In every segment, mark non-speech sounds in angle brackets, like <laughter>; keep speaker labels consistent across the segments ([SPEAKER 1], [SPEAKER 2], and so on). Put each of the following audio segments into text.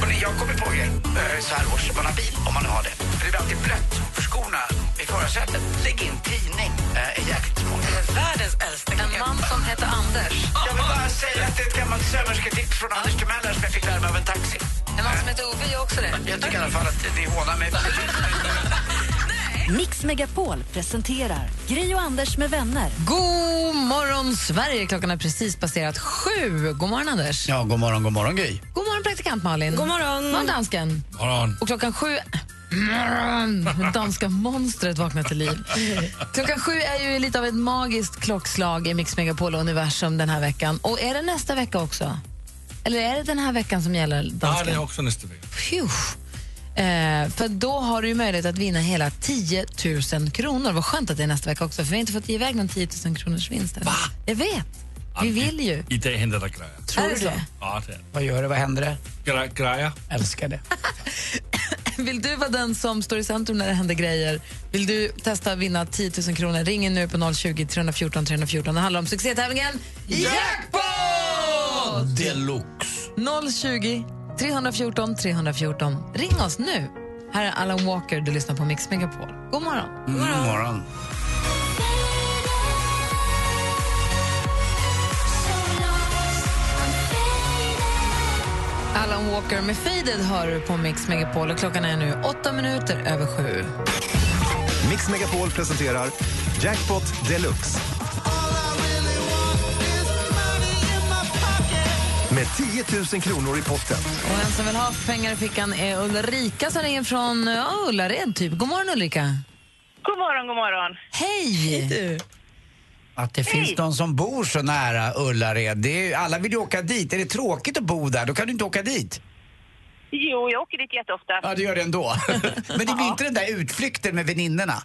[SPEAKER 1] Hörrni, jag kommer på en eh, så här års, man har bil om man nu har det. För det blir alltid blött för skorna i förarsätet. Lägg in tidning. Eh, är jäkligt smart. Världens äldsta En man som heter Anders. Jag vill bara säga att det är ett gammalt sömmersketips från Anders Timell här som jag fick lära mig av en taxi. En man som heter Ove gör också det. Jag tycker i alla fall att ni hånar mig.
[SPEAKER 2] Mix Megapol presenterar Gri och Anders med vänner.
[SPEAKER 3] God morgon, Sverige! Klockan har precis passerat sju. God morgon, Anders.
[SPEAKER 1] Ja, god morgon, god morgon Gry.
[SPEAKER 3] God morgon, praktikant Malin. God morgon. morgon dansken.
[SPEAKER 1] Morgon.
[SPEAKER 3] Och klockan sju... Morgon! Danska monstret vaknar till liv. Klockan sju är ju lite av ett magiskt klockslag i Mix Megapol och universum den här veckan. Och är det nästa vecka också? Eller är det den här veckan som gäller dansken?
[SPEAKER 4] Ja, det är också nästa vecka.
[SPEAKER 3] Pjuh. Eh, för då har du ju möjlighet att vinna hela 10 000 kronor. Vad skönt att det är nästa vecka också, för vi har inte fått ge iväg någon 10 000 kronors vinst. än. Jag vet. Vi vill ju.
[SPEAKER 4] I det händer det grejer.
[SPEAKER 3] Tror du det?
[SPEAKER 4] Ja, det är
[SPEAKER 5] Vad gör du? Vad händer det?
[SPEAKER 4] det. Gre grejer.
[SPEAKER 5] Älskar det.
[SPEAKER 3] <laughs> Vill du vara den som står i centrum när det händer grejer? Vill du testa att vinna 10 000 kronor? Ring in nu på 020 314 314. Det handlar om succétävlingen Jackpot!
[SPEAKER 4] Deluxe.
[SPEAKER 3] 020 314 314. Ring oss nu. Här är Alan Walker, du lyssnar på Mix Megapol. God morgon.
[SPEAKER 1] God morgon. morgon.
[SPEAKER 3] Alan Walker med Faded hör du på Mix Megapol och klockan är nu åtta minuter över sju.
[SPEAKER 6] Mix Megapol presenterar Jackpot Deluxe. Med 10 000 kronor i potten.
[SPEAKER 3] Och en som vill ha pengar i fickan är Ulrika som ringer från ja, Ullared typ. God morgon Ulrika.
[SPEAKER 7] God morgon, god morgon.
[SPEAKER 3] Hej!
[SPEAKER 5] Att det finns någon som bor så nära Ullared. Det är, ju- alla vill ju åka dit. Är det tråkigt att bo där, då kan du inte åka dit.
[SPEAKER 7] Jo, jag åker dit jätteofta.
[SPEAKER 5] Ja, du gör det ändå. <laughs> Men det blir inte den där utflykten med väninnorna.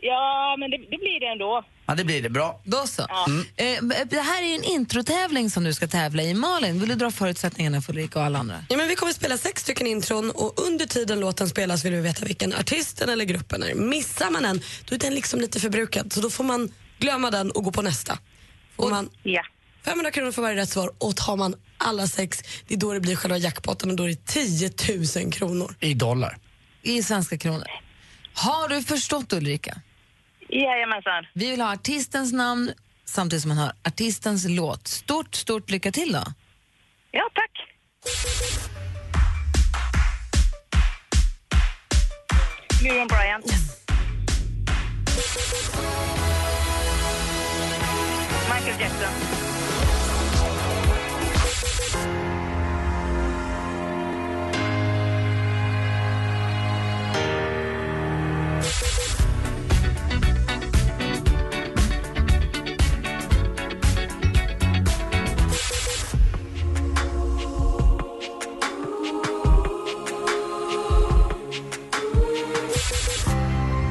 [SPEAKER 7] Ja, men det, det blir det ändå.
[SPEAKER 5] Ja, det blir det. Bra.
[SPEAKER 3] Då så. Eh, det här är ju en introtävling som du ska tävla i. Malin, vill du dra förutsättningarna för Ulrika och alla andra?
[SPEAKER 8] Ja, men vi kommer spela sex stycken intron och under tiden låten spelas vill vi veta vilken artisten eller gruppen är. Missar man den, då är den liksom lite förbrukad. Så då får man glömma den och gå på nästa. Får man
[SPEAKER 7] Ja.
[SPEAKER 8] 500 kronor för varje rätt svar och tar man alla sex, det är då det blir själva jackpotten och då är det 10 000 kronor.
[SPEAKER 5] I dollar.
[SPEAKER 3] I svenska kronor. Har du förstått Ulrika?
[SPEAKER 7] Jajamensan.
[SPEAKER 3] Vi vill ha artistens namn samtidigt som man hör artistens låt. Stort, stort lycka till då.
[SPEAKER 7] Ja, tack. Miriam Bryant. Michael Jackson.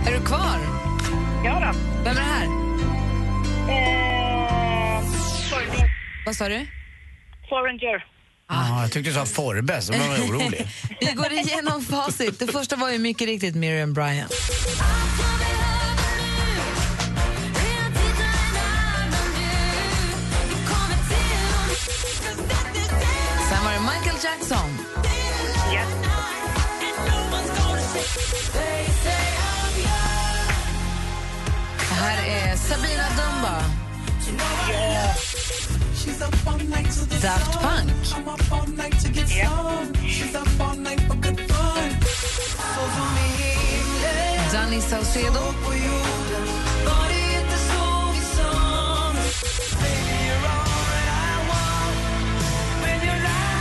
[SPEAKER 3] Är du kvar?
[SPEAKER 7] Ja då.
[SPEAKER 3] Vem är det här?
[SPEAKER 7] Eh, Foreign-
[SPEAKER 3] Vad sa du?
[SPEAKER 7] Foreigner.
[SPEAKER 5] Ja, jag tyckte du sa Forbe, så blev jag orolig.
[SPEAKER 3] Vi går igenom facit. Det första var ju mycket riktigt Miriam Bryant. Sen var det Michael Jackson.
[SPEAKER 7] Ja.
[SPEAKER 3] Det här är Sabina Dumba. Daft Punk. Danny Saucedo.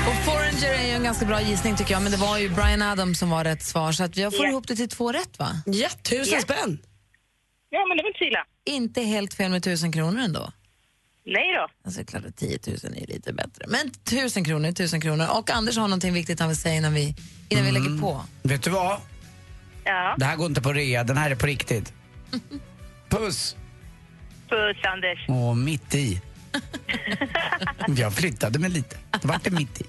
[SPEAKER 3] Och Foreigner är ju en ganska bra gissning tycker jag, men det var ju Brian Adams som var rätt svar så att jag får
[SPEAKER 7] Ja.
[SPEAKER 3] ihop det till två rätt va?
[SPEAKER 8] Ja, tusen
[SPEAKER 7] Ja.
[SPEAKER 8] spänn!
[SPEAKER 7] ja, men det var inte så illa.
[SPEAKER 3] Inte helt fel med tusen kronor ändå.
[SPEAKER 7] Nej då.
[SPEAKER 3] Alltså det är klart att 10 000 är ju lite bättre. Men tusen kronor, Mm. tusen kronor. Och Anders har någonting viktigt han vill säga innan vi, innan vi lägger på.
[SPEAKER 5] Vet du vad?
[SPEAKER 7] Ja.
[SPEAKER 5] Det här går inte på rea, den här är på riktigt. Puss!
[SPEAKER 7] Puss, Anders.
[SPEAKER 5] Åh, mitt i. Jag flyttade mig lite. Det vart det mitt i.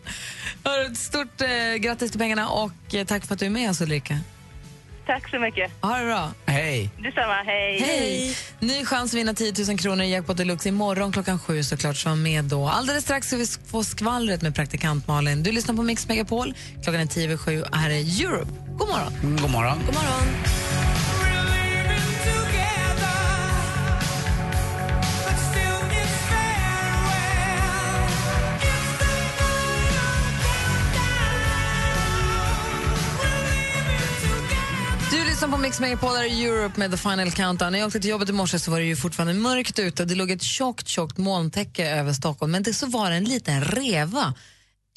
[SPEAKER 3] Hörru, ett Stort eh, grattis till pengarna och eh, tack för att du är med oss Ulrika.
[SPEAKER 7] Tack så mycket.
[SPEAKER 3] Ha det bra.
[SPEAKER 5] Hej!
[SPEAKER 7] Detsamma. Hej.
[SPEAKER 3] Hej! Ny chans att vinna 10 000 kronor i Jackpot Deluxe imorgon klockan sju såklart. Så var med då. Alldeles strax ska vi få skvallret med praktikant Malin. Du lyssnar på Mix Megapol. Klockan är tio över sju och här är Europe. God morgon!
[SPEAKER 5] Mm, God morgon.
[SPEAKER 3] God morgon! Du lyssnar på Mix Megapol, här i Europe med The Final Countdown. När jag åkte till jobbet i morse så var det ju fortfarande mörkt ute och det låg ett tjockt, tjockt molntäcke över Stockholm. Men det så var det en liten reva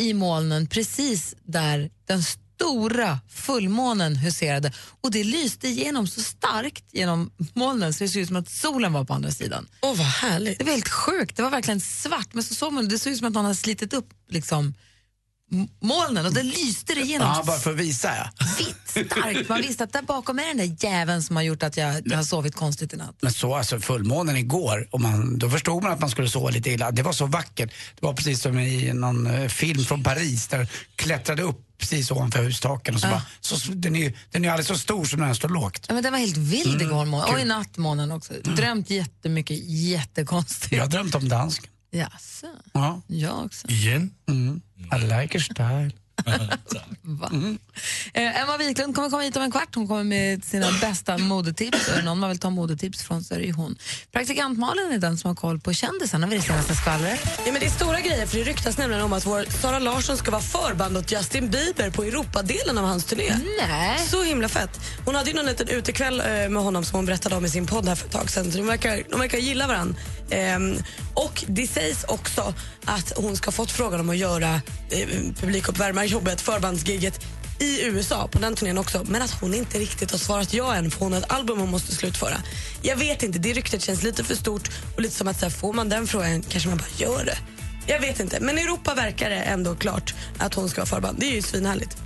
[SPEAKER 3] i molnen precis där den stora fullmånen huserade och det lyste igenom så starkt genom molnen så det såg ut som att solen var på andra sidan.
[SPEAKER 8] Åh, vad härligt.
[SPEAKER 3] Det var helt sjukt, det var verkligen svart men så såg man det såg ut som att någon hade slitit upp liksom m- molnen och det lyste det igenom
[SPEAKER 5] Ja, bara för att visa. Ja.
[SPEAKER 3] starkt. Man visste att där bakom är den där jäveln som har gjort att jag, jag har sovit konstigt i natt.
[SPEAKER 5] Men så alltså fullmånen igår, och man, då förstod man att man skulle sova lite illa. Det var så vackert. Det var precis som i någon eh, film från Paris där klättrade upp precis ovanför hustaken och så bara, så, den är ju den är ju alldeles så stor som när den står lågt.
[SPEAKER 3] Ja, men den var helt vild
[SPEAKER 5] Mm,
[SPEAKER 3] igår morgon. Och i
[SPEAKER 5] kul. Mm.
[SPEAKER 3] natt morgonen också. Drömt jättemycket, jättekonstigt.
[SPEAKER 5] Jag har drömt om dansken.
[SPEAKER 3] Jaså?
[SPEAKER 5] Ja.
[SPEAKER 3] Jag också.
[SPEAKER 4] Igen?
[SPEAKER 5] Mm. I like your style.
[SPEAKER 3] Va?
[SPEAKER 5] Mm.
[SPEAKER 3] Eh, Emma Wiklund kommer komma hit om en kvart. Hon kommer med sina bästa modetips. Är det någon man vill ta modetips från så är det ju hon. Praktikant Malin är den som har koll på kändisarna vid det senaste skvallret.
[SPEAKER 8] Ja, men det är stora grejer för det ryktas nämligen om att vår Sara Larsson ska vara förband åt Justin Bieber på Europadelen av hans turné.
[SPEAKER 3] Nej.
[SPEAKER 8] Så himla fett. Hon hade ju någon liten utekväll eh, med honom som hon berättade om i sin podd här för ett tag sedan. Så de verkar, de verkar gilla varandra. och det sägs också att hon ska ha fått frågan om att göra eh, publikuppvärmarjobbet, förbandsgigget i USA på den turnén också men att hon inte riktigt har svarat ja än för hon har ett album hon måste slutföra. Jag vet inte, det ryktet känns lite för stort och lite som att så här, får man den frågan kanske man bara gör det. Jag vet inte, men i Europa verkar det ändå klart att hon ska vara förband. Det är ju svinhärligt.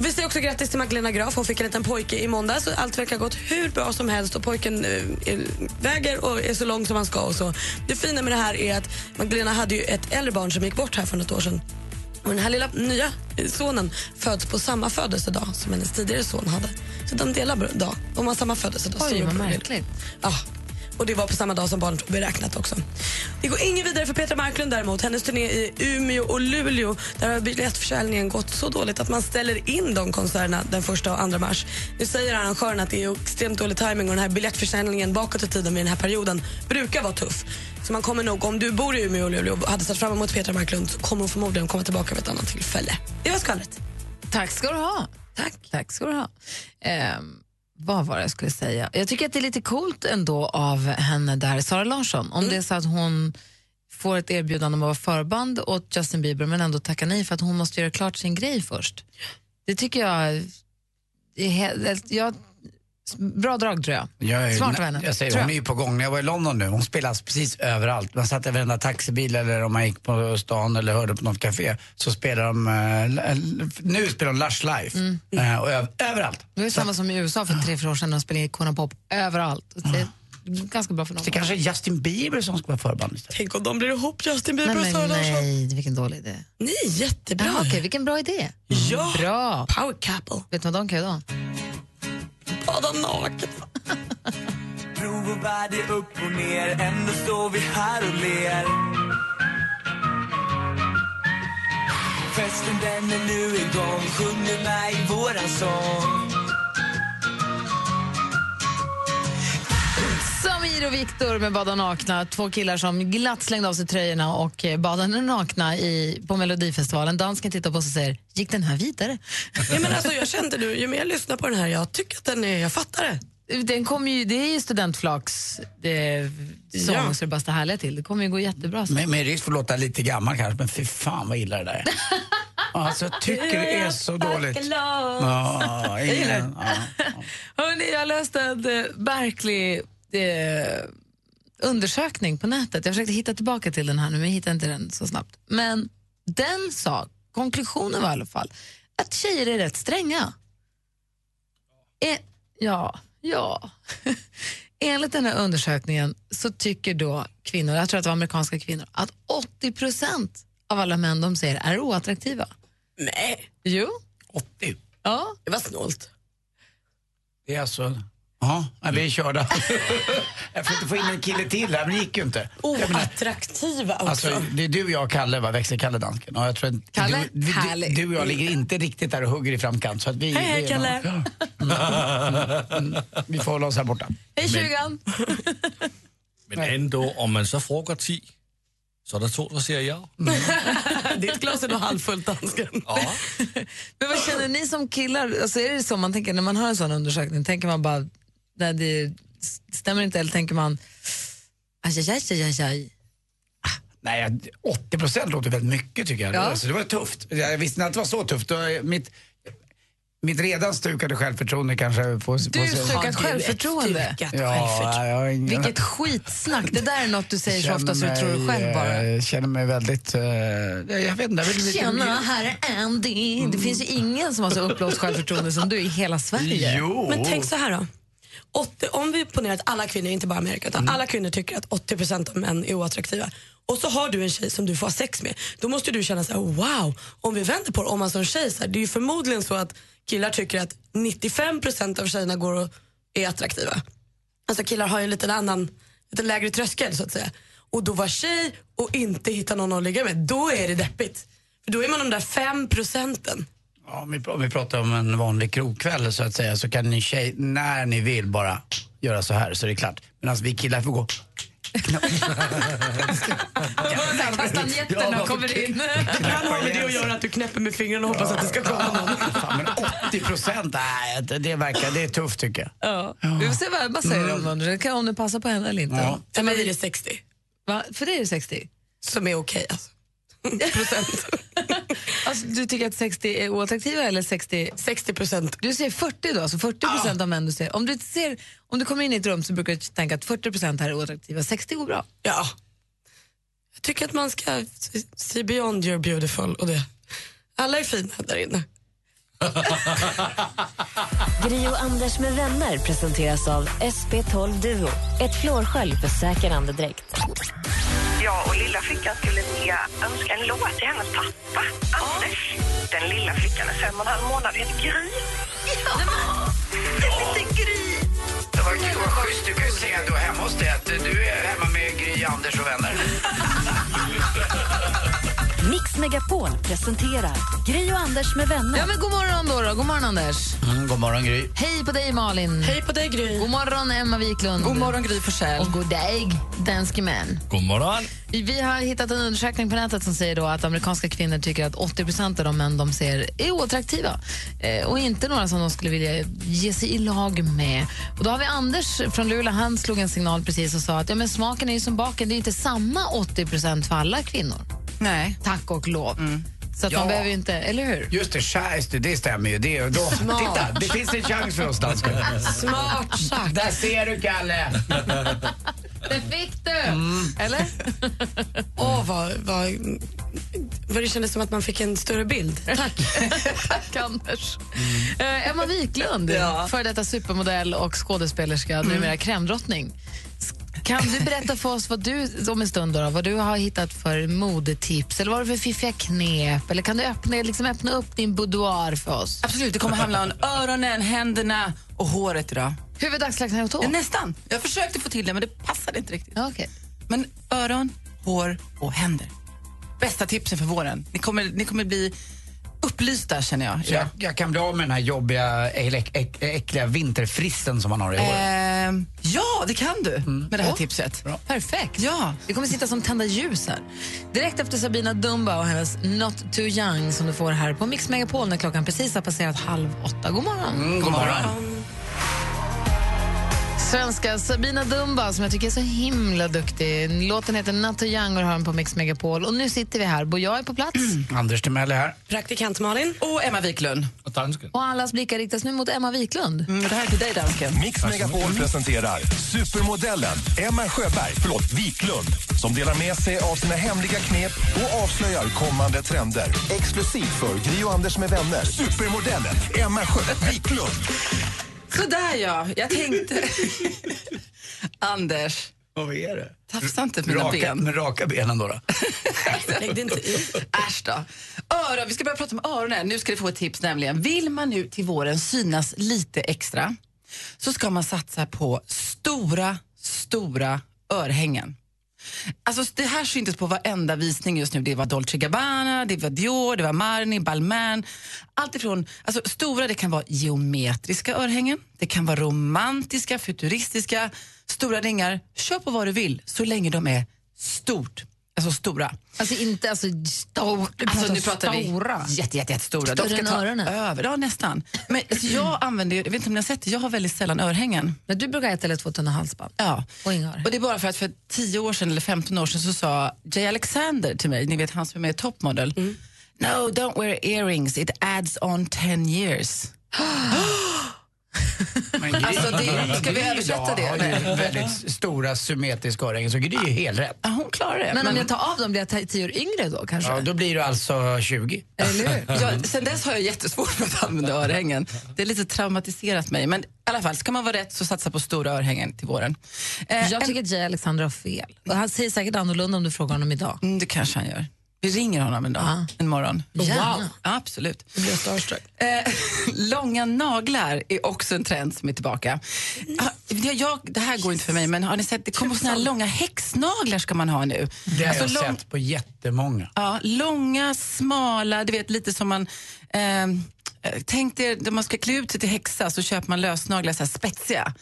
[SPEAKER 8] Vi säger också grattis till Magdalena Graf. Hon fick en liten pojke i måndags. och Allt verkar ha gått hur bra som helst och pojken eh, är- väger och är så lång som han ska. Och så. Det fina med det här är att Magdalena hade ju ett äldre barn som gick bort här för något år sedan. Och den här lilla nya eh, sonen föds på samma födelsedag som hennes tidigare son hade. Så de delar bra- dag. De har samma födelsedag.
[SPEAKER 3] Oj,
[SPEAKER 8] Så-
[SPEAKER 3] vad märkligt.
[SPEAKER 8] Ja. Och det var på samma dag som barnet var beräknat också. Det går ingen vidare för Petra Marklund däremot. Hennes turné i Umeå och Luleå, där har biljettförsäljningen gått så dåligt att man ställer in de konserterna den första och andra mars. Nu säger arrangören att det är extremt dålig timing och den här biljettförsäljningen bakåt i tiden vid den här perioden brukar vara tuff. Så man kommer nog, om du bor i Umeå och Luleå och hade sett fram emot Petra Marklund så kommer hon förmodligen komma tillbaka vid ett annat tillfälle. Det var skvallret.
[SPEAKER 3] Tack ska du ha.
[SPEAKER 8] Tack.
[SPEAKER 3] Tack ska du ha. Ehm, vad var det jag skulle säga? Jag tycker att det är lite coolt ändå av henne där, Sara Larsson.
[SPEAKER 8] Mm.
[SPEAKER 3] Om det är så att hon får ett erbjudande om att vara förband åt Justin Bieber men ändå tackar nej för att hon måste göra klart sin grej först. Det tycker jag är he- jag, bra drag tror jag.
[SPEAKER 5] Jag är,
[SPEAKER 3] Smart av henne.
[SPEAKER 5] Jag säger,
[SPEAKER 3] tror
[SPEAKER 5] hon är ju på gång. När jag var i London nu, hon spelas precis överallt. Man satt i varenda taxibil eller om man gick på stan eller hörde på något café så spelar de, eh, l- l- nu spelar de Lush Life. Eh, och ö- överallt.
[SPEAKER 3] Det är samma som i USA för tre, fyra år sedan när de spelade Icona Pop överallt. Det är ganska bra för dem.
[SPEAKER 5] Det kanske är Justin Bieber som ska vara förband istället.
[SPEAKER 8] Tänk om de blir ihop, Justin Bieber
[SPEAKER 3] Nej,
[SPEAKER 8] och Sara
[SPEAKER 3] men,
[SPEAKER 8] Larsson.
[SPEAKER 3] nej, vilken dålig idé.
[SPEAKER 8] Nej, jättebra.
[SPEAKER 3] Ja, okej, vilken bra idé.
[SPEAKER 8] Ja,
[SPEAKER 3] Bra.
[SPEAKER 8] power couple.
[SPEAKER 3] Vet du vad de kan göra då?
[SPEAKER 8] Bada naken.
[SPEAKER 9] Prov och värde upp och ner, ändå står vi här och ler. Festen den är nu igång, sjung med mig våran sång.
[SPEAKER 3] Samir och Viktor med Bada nakna, två killar som glatt slängde av sig tröjorna och eh, badade nakna i, på Melodifestivalen. Dansken tittar på oss och säger, gick den här vidare?
[SPEAKER 8] Ja, men alltså, jag kände nu, ju mer jag lyssnar på den här, jag tycker att den är, jag fattar det.
[SPEAKER 3] Den kom ju, det är ju studentflaks det, sång
[SPEAKER 8] Ja.
[SPEAKER 3] så det bara står härliga till. Det kommer ju gå jättebra. sen.
[SPEAKER 5] Med, med risk för att låta lite gammal kanske, men fy fan vad illa det där är. Alltså jag tycker det är så dåligt. Ja, ingen, ja.
[SPEAKER 3] Hörrni, jag läste en eh, Berkeley eh, undersökning på nätet. Jag försökte hitta tillbaka till den här nu, men jag hittade inte den så snabbt. Men den sa, konklusionen var i alla fall, att tjejer är rätt stränga. En, E, ja, ja. <laughs> Enligt den här undersökningen så tycker då kvinnor, jag tror att det var amerikanska kvinnor, att 80 procent av alla män de ser är oattraktiva.
[SPEAKER 8] Nej.
[SPEAKER 3] Jo.
[SPEAKER 5] 80?
[SPEAKER 3] Ja.
[SPEAKER 8] Det var snålt.
[SPEAKER 5] Det är alltså... Ja, nej, vi är körda. <laughs> jag försökte få in en kille till här, men det gick ju inte.
[SPEAKER 8] Oh,
[SPEAKER 5] Jag menar,
[SPEAKER 8] Oattraktiva också.
[SPEAKER 5] Alltså, det är du, och jag och Kalle, va? växelkalle dansken. Och jag tror att
[SPEAKER 8] Kalle,
[SPEAKER 5] du, vi-
[SPEAKER 8] härlig.
[SPEAKER 5] du, du och jag ligger inte riktigt där och hugger i framkant. Så att vi,
[SPEAKER 8] Hej, hej,
[SPEAKER 5] vi är nog-
[SPEAKER 8] Kalle.
[SPEAKER 5] Mm, mm, vi får hålla oss här borta.
[SPEAKER 3] Hej tjugan!
[SPEAKER 4] Men ändå, om man så frågar 10 så är det två som säger ja.
[SPEAKER 8] Ditt glas är nog halvfullt, dansken.
[SPEAKER 4] Ja.
[SPEAKER 3] Men vad känner ni som killar? Alltså är det så man tänker när man hör en sån undersökning? Tänker man bara, nej det stämmer inte eller tänker man, aj, aj, aj, aj, aj.
[SPEAKER 5] Nej, 80 procent låter väldigt mycket tycker jag.
[SPEAKER 3] Ja.
[SPEAKER 5] Alltså, det var tufft. Jag visste inte att det var så tufft. Och, eh, Mitt, mitt redan stukade självförtroende kanske får...
[SPEAKER 3] Du stukat självförtroende.
[SPEAKER 8] typ-
[SPEAKER 5] Ja, jag har ingen...
[SPEAKER 3] Vilket skitsnack. Det där är något du säger så ofta så du tror det själv bara.
[SPEAKER 5] Jag känner mig väldigt... eh, jag vet inte. Jag vill lite-
[SPEAKER 3] Tjena, här är Andy.
[SPEAKER 5] Mm.
[SPEAKER 3] Det finns ju ingen som har så uppblåst självförtroende som du i hela Sverige.
[SPEAKER 8] Men tänk så här då. 80, om vi ponerar att alla kvinnor, inte bara Amerika, utan alla kvinnor tycker att 80% av män är oattraktiva. Och så har du en tjej som du får ha sex med. Då måste du känna så här: wow, om vi vänder på det, om man som tjej, så här, det är ju förmodligen så att killar tycker att 95% av tjejerna går och är attraktiva. Alltså killar har ju en liten annan, lite lägre tröskel så att säga. Och då vara tjej och inte hitta någon att ligga med, då är det deppigt. För då är man de där 5 procenten.
[SPEAKER 5] Ja, Om vi, om vi pratar om en vanlig krogkväll så att säga så kan ni tjej, när ni vill bara göra så här så är det klart. Medan vi killar får gå...
[SPEAKER 3] Kastanjetterna kommer
[SPEAKER 5] <laughs>
[SPEAKER 3] in.
[SPEAKER 8] Ibland har vi det att göra att du knäpper med fingrarna och hoppas att det ska komma någon.
[SPEAKER 10] <laughs>
[SPEAKER 5] Fan, men 80 procent, nej, det, det verkar, det är tufft tycker jag.
[SPEAKER 3] Ja. Vi får se vad Ebba säger om om det, kan- om det passar på henne eller inte.
[SPEAKER 5] Mm. Ja.
[SPEAKER 8] För mig är det 60.
[SPEAKER 3] Va? För det är det 60?
[SPEAKER 8] Som är okej alltså.
[SPEAKER 3] <laughs> Alltså, du tycker att 60 är oattraktiva eller 60?
[SPEAKER 8] 60 procent.
[SPEAKER 3] Du säger 40 då, alltså 40 procent av män du ser. Om du, ser. om du kommer in i ett rum så brukar du tänka att 40 procent här är oattraktiva, 60 går bra.
[SPEAKER 8] Ja. Jag tycker att man ska se beyond your beautiful och det. Alla är fina där inne.
[SPEAKER 2] Gri och Anders med vänner presenteras av SP12 Duo. Ett flårskölj för säker andedräkt.
[SPEAKER 7] Jag och lilla flickan skulle vilja önska en låt till hennes pappa, Anders. Den lilla flickan är fem och en halv månad, heter Gry. Ja! Det Gry.
[SPEAKER 1] Det var, det var schysst. Du kan ju säga då hemma hos dig att du är hemma med Gry, Anders och vänner.
[SPEAKER 2] Mix Megapol presenterar Gri och Anders med vänner.
[SPEAKER 3] Ja, men god morgon då, då. God morgon Anders.
[SPEAKER 5] Mm, god morgon Gry.
[SPEAKER 3] Hej på dig Malin.
[SPEAKER 8] Hej på dig Gry.
[SPEAKER 3] God morgon Emma Wiklund. God morgon Gry Forssell. Och god dag danske man.
[SPEAKER 4] God morgon.
[SPEAKER 3] Vi har hittat en undersökning på nätet som säger då att amerikanska kvinnor tycker att 80 av de män de ser är oattraktiva eh, och inte några som de skulle vilja ge sig i lag med. Och då har vi Anders från Luleå, han slog en signal precis och sa att ja, men smaken är ju som baken, det är ju inte samma 80 för alla kvinnor. Nej. Tack och lov. Så att
[SPEAKER 5] Ja.
[SPEAKER 3] man behöver ju inte, eller hur?
[SPEAKER 5] Just det, scheisse, det stämmer ju. Det, är- då,
[SPEAKER 8] Smart.
[SPEAKER 5] titta, det finns en chans för oss danskar.
[SPEAKER 8] Smart sagt.
[SPEAKER 5] Där ser du Kalle!
[SPEAKER 3] Det fick du! Mm. Eller?
[SPEAKER 8] Åh, vad, vad, vad det kändes som att man fick en större bild. Tack.
[SPEAKER 3] <laughs> Tack, Anders. Eh, Emma Wiklund,
[SPEAKER 8] Ja. Mm.
[SPEAKER 3] före detta supermodell och skådespelerska, numera krämdrottning. S- Kan du berätta för oss vad du, om en stund då, vad du har hittat för modetips eller vad du för fiffiga knep? Eller kan du öppna, liksom öppna upp din boudoir för oss?
[SPEAKER 10] Absolut, det kommer handla om öronen, händerna och håret idag.
[SPEAKER 3] Huvuddagsläxan och tå?
[SPEAKER 10] Ja, nästan. Jag försökte få till det, men det passade inte riktigt.
[SPEAKER 3] Ja, okej.
[SPEAKER 10] Men öron, hår och händer. Bästa tipsen för våren. Ni kommer, ni kommer bli upplysta, känner jag.
[SPEAKER 5] Jag, jag kan bli av med den här jobbiga, äck, äck, äckliga vinterfristen som man har i håret.
[SPEAKER 10] Ehm, ja, det kan du
[SPEAKER 6] Mm.
[SPEAKER 10] med det här tipset.
[SPEAKER 3] Perfekt.
[SPEAKER 10] Ja.
[SPEAKER 3] Det kommer sitta som tända ljus här. Direkt efter Sabina Dumba och hennes Not Too Young som du får här på Mix Megapol när klockan precis har passerat halv åtta. God morgon.
[SPEAKER 8] Mm,
[SPEAKER 5] God morgon.
[SPEAKER 3] Svenska Sabina Dumba som jag tycker är så himla duktig. Låten heter Natt och Young och du hör den på Mix Megapol. Och nu sitter vi här. Bo, jag är på plats
[SPEAKER 10] Mm.
[SPEAKER 5] Anders Timell är här.
[SPEAKER 8] Praktikant Malin.
[SPEAKER 10] <laughs> Och Emma Wiklund.
[SPEAKER 4] Och dansken.
[SPEAKER 3] och allas blickar riktas nu mot Emma Wiklund.
[SPEAKER 10] Mm, det här är till dig, dansken.
[SPEAKER 6] Mix Megapol presenterar supermodellen Emma Sjöberg, förlåt, Wiklund som delar med sig av sina hemliga knep och avslöjar kommande trender. Exklusivt för Gri och Anders med vänner. Supermodellen Emma Sjö Wiklund.
[SPEAKER 10] Sådär ja, jag tänkte... Anders,
[SPEAKER 5] Vad är det?
[SPEAKER 10] tafsa inte på mina
[SPEAKER 5] raka,
[SPEAKER 10] ben.
[SPEAKER 5] Med raka benen då? då.
[SPEAKER 10] Lägg det inte i. Äsch då. Öron, vi ska börja prata om öronen. Nu ska du få ett tips nämligen. Vill man nu till våren synas lite extra så ska man satsa på stora, stora örhängen. Alltså det här syntes på varenda visning just nu. Det var Dolce Gabbana, det var Dior, det var Marni, Balmain. Allt ifrån, alltså stora det kan vara geometriska örhängen, det kan vara romantiska, futuristiska, stora ringar. Köp på vad du vill så länge de är stort. Alltså stora.
[SPEAKER 3] Alltså inte alltså stort.
[SPEAKER 10] Alltså nu pratar vi
[SPEAKER 3] stora.
[SPEAKER 10] jätte, jätte, jättestora.
[SPEAKER 3] Större
[SPEAKER 10] De ska
[SPEAKER 3] än
[SPEAKER 10] ta
[SPEAKER 3] öronen.
[SPEAKER 10] över. Ja, nästan. Men alltså, jag använder ju, jag vet inte om ni har sett det, jag har väldigt sällan örhängen.
[SPEAKER 3] Men du brukar ha ett eller två tunna halsband.
[SPEAKER 10] Ja.
[SPEAKER 3] Och inga örhängen.
[SPEAKER 10] Och det är bara för att för 10 år sedan eller 15 år sedan så sa Jay Alexander till mig, ni vet han som är med i Top Model.
[SPEAKER 3] Mm.
[SPEAKER 10] No, don't wear earrings, it adds on 10 years. <laughs> Alltså, det- ska vi översätta det,
[SPEAKER 5] Gry har
[SPEAKER 10] eller?
[SPEAKER 5] ju väldigt stora symmetriska örhängen, så Gry är helt rätt.
[SPEAKER 10] Ja, hon klarar det. Mm.
[SPEAKER 3] Men om jag tar av dem blir jag t- tio år yngre då kanske?
[SPEAKER 5] Ja, då blir du alltså 20.
[SPEAKER 10] <laughs> Jag, sen dess har jag jättesvårt för att använda örhängen. Det är lite traumatiserat mig. Men i alla fall, ska man vara rätt så satsa på stora örhängen till våren. Eh,
[SPEAKER 3] Jag tycker att Jay Alexander har fel. Och han säger säkert annorlunda om du frågar honom idag.
[SPEAKER 10] Mm, det kanske han gör. Vi ringer honom en dag, en morgon.
[SPEAKER 3] Gärna.
[SPEAKER 10] Wow, absolut. Eh, långa naglar är också en trend som är tillbaka. Ah, Jag, jag, det här går inte för mig, men har ni sett, det kommer såna här långa häxnaglar ska man ha nu.
[SPEAKER 5] Det har jag
[SPEAKER 10] Alltså, lång-
[SPEAKER 5] sett på jättemånga.
[SPEAKER 10] Ja, långa, smala, du vet lite som man... Eh, tänk dig, när man ska klä ut sig till häxa så köper man lösnaglar så här spetsiga.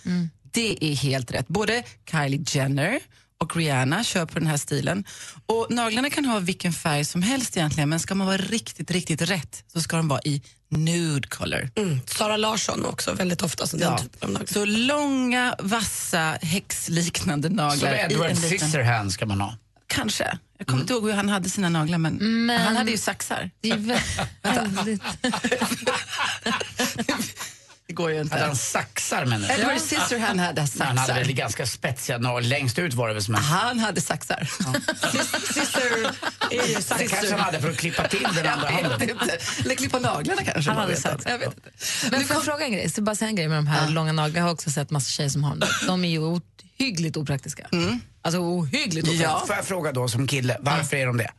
[SPEAKER 10] Det är helt rätt. Både Kylie Jenner och Rihanna kör på den här stilen. Och Naglarna kan ha vilken färg som helst egentligen men ska man vara riktigt, riktigt rätt så ska de vara i nude color.
[SPEAKER 8] Mm. Sara Larsson också väldigt ofta. Så den
[SPEAKER 10] Ja.
[SPEAKER 8] typen av naglar.
[SPEAKER 10] Så långa, vassa, häxliknande
[SPEAKER 5] Som
[SPEAKER 10] naglar. Alltså, i en
[SPEAKER 5] Edward
[SPEAKER 10] liten-
[SPEAKER 5] Scissorhands ska man ha.
[SPEAKER 10] Kanske. Jag kommer inte ihåg hur han hade sina naglar, men,
[SPEAKER 3] Mm. Men-
[SPEAKER 10] han hade ju saxar.
[SPEAKER 3] Det är
[SPEAKER 10] <laughs>
[SPEAKER 3] vä- väldigt...
[SPEAKER 10] Det går ju inte.
[SPEAKER 5] Att han saxar menar du?
[SPEAKER 10] Edward Scissorhand hade
[SPEAKER 5] Men Han hade väl
[SPEAKER 10] saxar.
[SPEAKER 5] ganska spetsiga naglar. Längst ut var det väl som en...
[SPEAKER 10] Han hade saxar. Scissor är ju
[SPEAKER 5] Det kanske han hade för att klippa till den andra
[SPEAKER 10] Jag
[SPEAKER 5] handen.
[SPEAKER 10] vet inte.
[SPEAKER 8] Typ.
[SPEAKER 10] Eller klippa naglarna kanske.
[SPEAKER 3] Han
[SPEAKER 10] man
[SPEAKER 3] hade
[SPEAKER 10] vet
[SPEAKER 3] saxar.
[SPEAKER 10] inte. Jag vet inte.
[SPEAKER 3] Men får jag fråga en grej? Så bara säga en grej med de här långa naglarna. Jag har också sett massa tjejer som har dem. De är ju ohyggligt opraktiska. Alltså ohyggligt opraktiska.
[SPEAKER 5] Får jag fråga då som kille, varför är de det?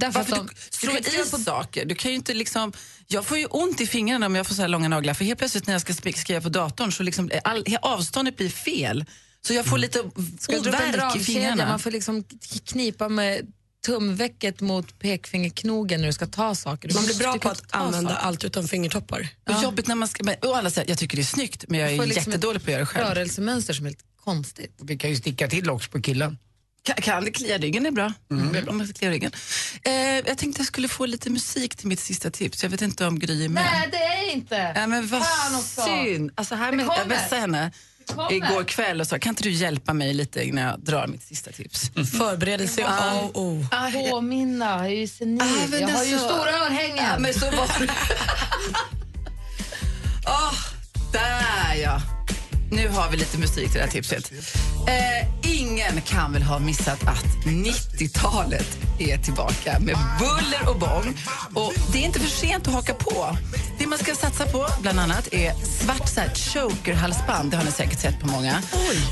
[SPEAKER 3] Därför att
[SPEAKER 10] Varför
[SPEAKER 3] de
[SPEAKER 10] du, slå i på saker. Du kan ju inte liksom, jag får ju ont i fingrarna om jag får så här långa naglar. För helt plötsligt när jag ska spik- skriva på datorn så liksom, eh, all, he- avståndet blir fel. Så jag får lite
[SPEAKER 3] Mm. Ska du dra upp en
[SPEAKER 10] ovärk i
[SPEAKER 3] dragkedja?
[SPEAKER 10] fingrarna.
[SPEAKER 3] Man får liksom k- knipa med tumvecket mot pekfingerknogen när du ska ta saker. Du
[SPEAKER 8] Man blir
[SPEAKER 3] måste-
[SPEAKER 8] bra
[SPEAKER 3] du
[SPEAKER 8] på
[SPEAKER 3] kan
[SPEAKER 8] att
[SPEAKER 3] inte ta
[SPEAKER 8] använda
[SPEAKER 3] saker.
[SPEAKER 8] allt utom fingertoppar.
[SPEAKER 10] Och jobbigt när man ska, men, å andra sidan, jag tycker det är snyggt men jag
[SPEAKER 3] Du får
[SPEAKER 10] är
[SPEAKER 3] liksom
[SPEAKER 10] jättedålig på att göra det
[SPEAKER 3] ett
[SPEAKER 10] själv.
[SPEAKER 3] rörelsemönster som är lite konstigt.
[SPEAKER 5] Vi kan ju sticka till också på killen.
[SPEAKER 10] Kan, kan det klia ryggen är bra.
[SPEAKER 3] Mm.
[SPEAKER 10] Det är bra om man ska klia ryggen. Eh, jag tänkte jag skulle få lite musik till mitt sista tips. Jag vet inte om Gry är med.
[SPEAKER 3] det är inte.
[SPEAKER 10] Ja, men vad
[SPEAKER 3] Fan också.
[SPEAKER 10] synd. Alltså här med,
[SPEAKER 3] kommer.
[SPEAKER 10] jag messade henne
[SPEAKER 3] kommer.
[SPEAKER 10] igår kväll och sa, kan inte du hjälpa mig lite innan jag drar mitt sista tips?
[SPEAKER 8] Förberedelse är A och O.
[SPEAKER 10] Ah, jag-
[SPEAKER 3] Påminna, jag är ju senil.
[SPEAKER 10] Ah, men alltså- Ja,
[SPEAKER 3] örhängen.
[SPEAKER 10] men så var det. Åh, där ja. Nu har vi lite musik till det här tipset. Eh, ingen kan väl ha missat att 90-talet är tillbaka med buller och bång. Och det är inte för sent att haka på. Det man ska satsa på bland annat är svart så här chokerhalsband. Det har ni säkert sett på många.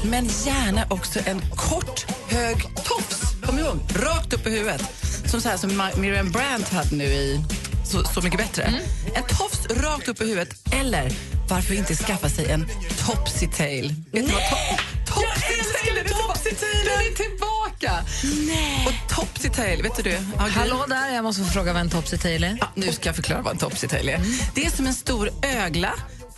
[SPEAKER 10] Men gärna också en kort, hög tofs. Kom ihåg, rakt upp i huvudet. Som så här som Ma- Miriam Brandt hade nu i så, så mycket bättre. En tofs rakt upp i huvudet eller varför inte skaffa sig en topsy tail? Vet du vad to- topsy tail är topsy tail! Den är tillbaka! Nej. Och topsy tail, vet du det? Ja, Gry.
[SPEAKER 3] Hallå där, jag måste få fråga vad en topsy tail är.
[SPEAKER 10] Ja, nu ska jag förklara vad en topsy tail är. Det är som en stor ögla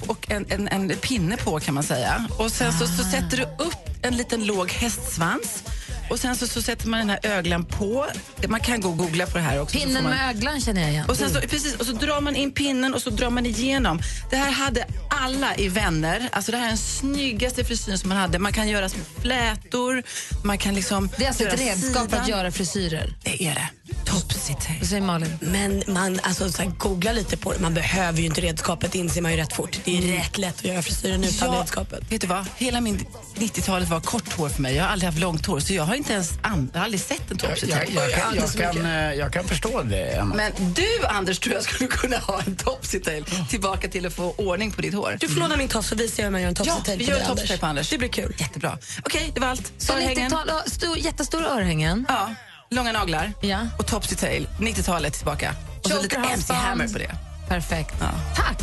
[SPEAKER 10] och en, en, en pinne på kan man säga. Och sen så, så sätter du upp en liten låg hästsvans och sen så, så sätter man den här öglan på. Man kan gå och googla på det här också. så får
[SPEAKER 3] Pinnen
[SPEAKER 10] man...
[SPEAKER 3] med öglan känner jag igen.
[SPEAKER 10] Och, sen så, precis, och så drar man in pinnen och så drar man igenom. Det här hade alla i Vänner. Alltså det här är den snyggaste frisyren som man hade. Man kan göra små flätor. Man kan liksom
[SPEAKER 3] det är alltså ett
[SPEAKER 10] göra
[SPEAKER 3] redskap
[SPEAKER 10] sidan.
[SPEAKER 3] att göra frisyrer.
[SPEAKER 10] Det är det.
[SPEAKER 8] Topsy-turvy.
[SPEAKER 3] Säg Malin.
[SPEAKER 8] Men man alltså, så här, googla lite på det. Man behöver ju inte redskapet, inser man ju rätt fort. Det är rätt lätt att göra frisyren utan
[SPEAKER 10] Jag-
[SPEAKER 8] redskap.
[SPEAKER 10] Vet du vad? Hela min 90-talet var kort hår för mig. Jag har aldrig haft långt hår, så jag har inte ens an- jag har aldrig sett en
[SPEAKER 5] Jag,
[SPEAKER 10] topsy
[SPEAKER 5] jag, jag, kan, jag, kan, eh, jag kan förstå det, Emma.
[SPEAKER 10] Men du, Anders, tror jag skulle kunna ha en topsy-tail tillbaka till att få ordning på ditt hår.
[SPEAKER 8] Du får låna min tofs så visar jag hur man gör en topsy-turvy
[SPEAKER 10] Ja, vi
[SPEAKER 8] på
[SPEAKER 10] gör
[SPEAKER 8] dig,
[SPEAKER 10] en topsy-tail på Anders. Det
[SPEAKER 8] blir kul.
[SPEAKER 10] Jättebra. Okej, det var allt.
[SPEAKER 3] Så 90-tal, ja, stor, jättestora örhängen.
[SPEAKER 10] Ja, långa naglar
[SPEAKER 3] ja.
[SPEAKER 10] och topsy-tail. 90-talet tillbaka. Och så lite MC
[SPEAKER 3] Chokerhalsband.
[SPEAKER 10] Hammer på det.
[SPEAKER 3] Perfekt. Tack!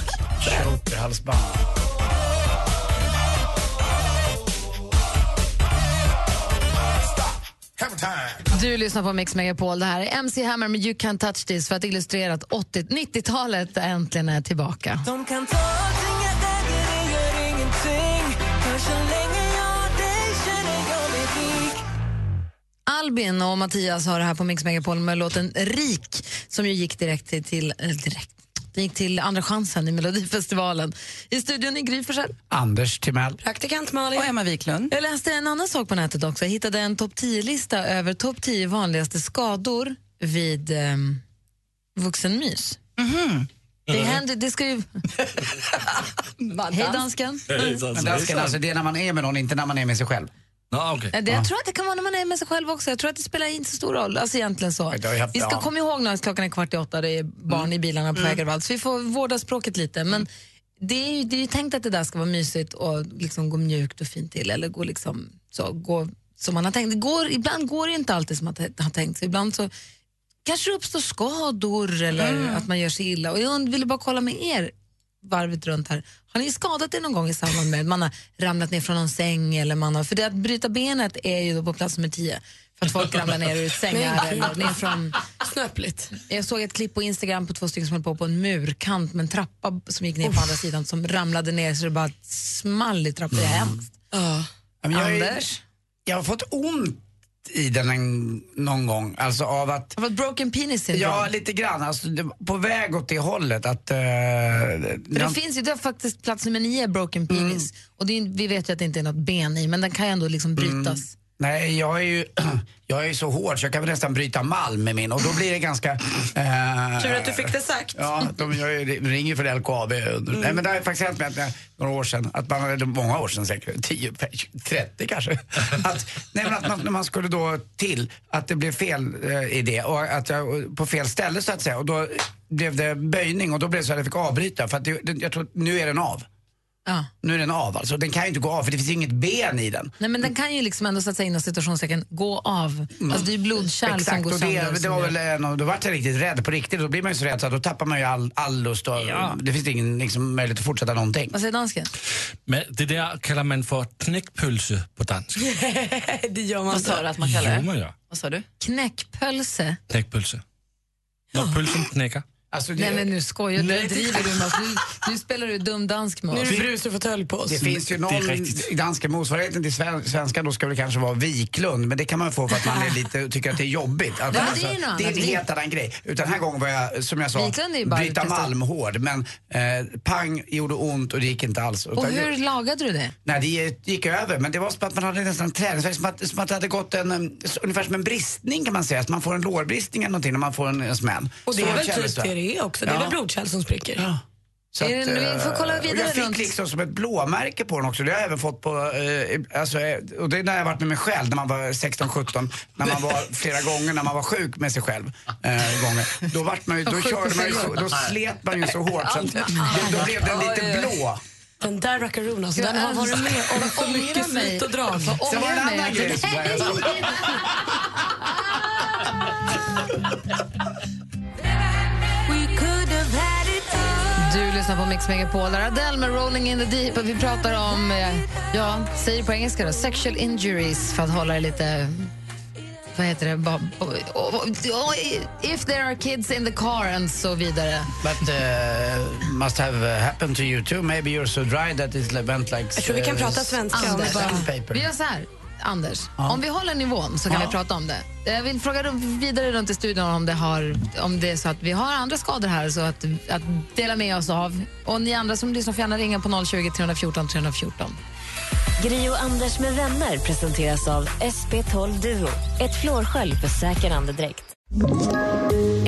[SPEAKER 5] Chokerhalsband.
[SPEAKER 3] Du lyssnar på Mix Megapol. Det här är MC Hammer med You Can't Touch This för att illustrera att 80 90-talet äntligen är tillbaka.
[SPEAKER 11] De kan ta allting jag äger, det gör ingenting För så länge jag har dig känner jag mig rik
[SPEAKER 3] Albin och Mattias har det här på Mix Megapol med låten Rik som ju gick direkt till, till, eh, direkt. Den gick till Andra chansen i Melodifestivalen. I studion i Gry Forssell.
[SPEAKER 5] Anders Timell.
[SPEAKER 8] Praktikant Malin.
[SPEAKER 10] Och Emma Wiklund.
[SPEAKER 3] Jag läste en annan sak på nätet också. Jag hittade en topp 10-lista över topp 10 vanligaste skador vid eh, vuxenmys.
[SPEAKER 10] Mhm.
[SPEAKER 3] Det, händer, det ska ju... Hej dansken.
[SPEAKER 10] Mm.
[SPEAKER 5] Men dansken, alltså, det är när man är med någon, inte när man är med sig själv.
[SPEAKER 4] Ja,
[SPEAKER 3] Nej, Eh, Det, jag tror att det kan vara när man är med sig själv också. Jag tror att det spelar inte så stor roll. Alltså egentligen så.
[SPEAKER 5] det har ju haft-
[SPEAKER 3] Vi ska
[SPEAKER 5] ja.
[SPEAKER 3] komma ihåg nu att klockan är kvart i åtta, det är barn i bilarna på
[SPEAKER 10] Mm.
[SPEAKER 3] väg överallt. Så vi får vårda språket lite.
[SPEAKER 5] Mm.
[SPEAKER 3] Men det är, ju, det är ju tänkt att det där ska vara mysigt och liksom gå mjukt och fint till. Eller gå liksom så, gå som man har tänkt. Det går, ibland går det ju inte alltid som man t- har tänkt. Så ibland så kanske det uppstår skador eller att man gör sig illa. Och jag und- ville bara kolla med er varvet runt här. Har ni skadat er någon gång i samband med att man har ramlat ner från någon säng? Eller man har, för det att bryta benet är ju då på plats nummer tio. För att folk ramlar ner ur sängar
[SPEAKER 8] Men-
[SPEAKER 3] eller ner från...
[SPEAKER 8] Snöpligt.
[SPEAKER 3] Jag såg ett klipp på Instagram på två stycken som höll på på en murkant med en trappa som gick ner på andra sidan som ramlade ner så det bara small i trappan. Det är hemskt.
[SPEAKER 5] Ja, men jag är-
[SPEAKER 3] Anders?
[SPEAKER 5] Jag har fått ont i den en, någon gång. Alltså av att...
[SPEAKER 3] Av ett broken penis syndrome?
[SPEAKER 5] Ja, lite grann. Alltså, det, var på väg åt det hållet att... eh,
[SPEAKER 3] För
[SPEAKER 5] jag-
[SPEAKER 3] det finns ju det är faktiskt plats nummer nio, broken
[SPEAKER 5] Mm.
[SPEAKER 3] penis. Och det är, ju- vi vet ju att det inte är något ben i, men den kan ju ändå liksom
[SPEAKER 5] Mm.
[SPEAKER 3] brytas.
[SPEAKER 5] Nej, jag är ju <clears throat> jag är ju så hård så jag kan väl nästan bryta malm med min och då blir det ganska... eh,
[SPEAKER 8] Tur att du fick det sagt.
[SPEAKER 5] Ja, de gör ju, de ringer ju för det LKAB. Nej, men det har ju faktiskt hänt mig att jag- några år sedan, att man, eller många år sedan säkert, 10, 30 kanske. Att, nej, men att man, när man skulle då till att det blev fel eh, i det och att jag på fel ställe så att säga och då blev det böjning och då blev det så att jag fick avbryta för att det, det, jag tror nu är den av.
[SPEAKER 3] Ja.
[SPEAKER 5] Nu är den av alltså. Den kan ju inte gå av för det finns ju inget ben i den.
[SPEAKER 3] Nej, men den kan ju liksom ändå sätta in situationstecken gå av. Alltså det är ju blodkärl som
[SPEAKER 5] Mm. Exakt,
[SPEAKER 3] går
[SPEAKER 5] och det,
[SPEAKER 3] sönder.
[SPEAKER 5] det
[SPEAKER 3] som
[SPEAKER 5] var
[SPEAKER 3] gör-
[SPEAKER 5] väl, en av- då vart jag riktigt rädd på riktigt. Då blir man ju så rädd så att då tappar man ju all, all lust och det finns ingen liksom, möjlighet att fortsätta någonting.
[SPEAKER 3] Vad säger dansken?
[SPEAKER 4] Men det där kallar man för knäckpölse på dansk.
[SPEAKER 8] det gör man
[SPEAKER 10] Vad sa du att man kallar
[SPEAKER 4] Jo, men
[SPEAKER 10] det?
[SPEAKER 4] ja.
[SPEAKER 10] Vad sa du?
[SPEAKER 3] Knäckpölse?
[SPEAKER 4] Knäckpölse. När pölsen knäcker.
[SPEAKER 5] Alltså,
[SPEAKER 3] Nej men nu skojar du, nu driver du med oss. Nu, nu spelar du dum dansk med oss.
[SPEAKER 8] brus och fåtölj på
[SPEAKER 5] Det finns ju någon i danska motsvarigheten till sven- svenska då ska det kanske vara Wiklund, men det kan man få för
[SPEAKER 3] <laughs>
[SPEAKER 5] att man är lite, tycker att det är jobbigt. Att, alltså,
[SPEAKER 3] Ja, men det är ju något
[SPEAKER 5] det är en
[SPEAKER 3] annat.
[SPEAKER 5] helt annan grej. Utan den här gången var jag, som jag sa,
[SPEAKER 3] Wiklund är ju bara
[SPEAKER 5] Brita
[SPEAKER 3] testat.
[SPEAKER 5] Malm hård, men eh, pang gjorde ont och det gick inte alls.
[SPEAKER 3] Och
[SPEAKER 5] Utan-
[SPEAKER 3] hur lagade du det?
[SPEAKER 5] Nej, det gick över, men det var som att man hade nästan träningsvärk, som att, som att det hade gått en, em, s- ungefär som en bristning kan man säga, att man får en lårbristning eller någonting när man får en, en smäll.
[SPEAKER 8] Och det
[SPEAKER 5] Så
[SPEAKER 8] är väl
[SPEAKER 5] kändes
[SPEAKER 8] typ det det är också. Det är
[SPEAKER 5] Ja.
[SPEAKER 8] väl blodkärl som spricker.
[SPEAKER 5] Så
[SPEAKER 8] Är
[SPEAKER 5] att,
[SPEAKER 8] det nu- vi får
[SPEAKER 5] eh,
[SPEAKER 8] kolla
[SPEAKER 5] och
[SPEAKER 8] vidare
[SPEAKER 5] jag fick
[SPEAKER 8] runt.
[SPEAKER 5] liksom som ett blåmärke på den också. Det har jag även fått på, eh, alltså, eh, och det är när jag varit med mig själv när man var 16-17, när man var
[SPEAKER 8] <laughs>
[SPEAKER 5] flera gånger när man var sjuk med sig själv. Eh, gånger. Då, vart man ju, då,
[SPEAKER 8] <laughs> Sjuk
[SPEAKER 5] körde
[SPEAKER 8] med
[SPEAKER 5] man ju
[SPEAKER 8] sig
[SPEAKER 5] så, då
[SPEAKER 8] själv.
[SPEAKER 5] slet man ju så hårt så att,
[SPEAKER 8] <laughs>
[SPEAKER 5] då, då blev den lite blå.
[SPEAKER 8] Den där rackaroon alltså, den har
[SPEAKER 3] Jag
[SPEAKER 8] varit med <laughs> om
[SPEAKER 3] älskar-
[SPEAKER 8] för mycket
[SPEAKER 3] ångra mig.
[SPEAKER 8] slit och drag.
[SPEAKER 3] Vad ångrar
[SPEAKER 5] Sen var det en
[SPEAKER 3] mig
[SPEAKER 5] annan
[SPEAKER 3] att-
[SPEAKER 5] grej som jag-
[SPEAKER 3] Nej.
[SPEAKER 11] We could have had it all
[SPEAKER 3] Du lyssnar på Mix Megapol. Där är Adele med Rolling in the deep. Och vi pratar om, eh, ja, säger det på engelska då, sexual injuries för att hålla det lite... Vad heter det? Ba- o- o- o- If there are kids in the car and så vidare.
[SPEAKER 5] But uh, must have happened to you too. Maybe you're so dry that it went like... uh,
[SPEAKER 8] Jag tror vi kan prata svenska om
[SPEAKER 5] Anders.
[SPEAKER 8] det bara.
[SPEAKER 3] Vi gör så här, Anders.
[SPEAKER 5] Ja.
[SPEAKER 3] Om vi håller nivån så kan
[SPEAKER 5] Ja.
[SPEAKER 3] vi prata om det. Jag vill fråga runt- vidare runt i studion om det, har, om det är så att vi har andra skador här så att, att dela med oss av. Och ni andra som lyssnar får gärna ringa på 020 314 314.
[SPEAKER 2] Gri och Anders med vänner presenteras av SP12 Duo. Ett flårskölj för säker andedräkt.